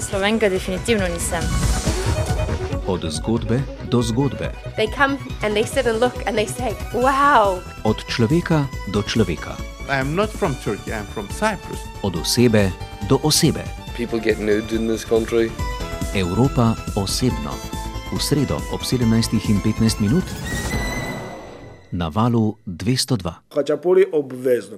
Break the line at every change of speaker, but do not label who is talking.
Slovenka definitivno nisem.
Od zgodbe do zgodbe,
They come and they sit and look and they say, wow,
od človeka do človeka,
I am not from Turkey, I am from Cyprus.
od osebe do osebe.
People get nude in this country.
Evropa osebno. V sredo ob 17.15 minut na valu 202.
Hačapuri obvezno.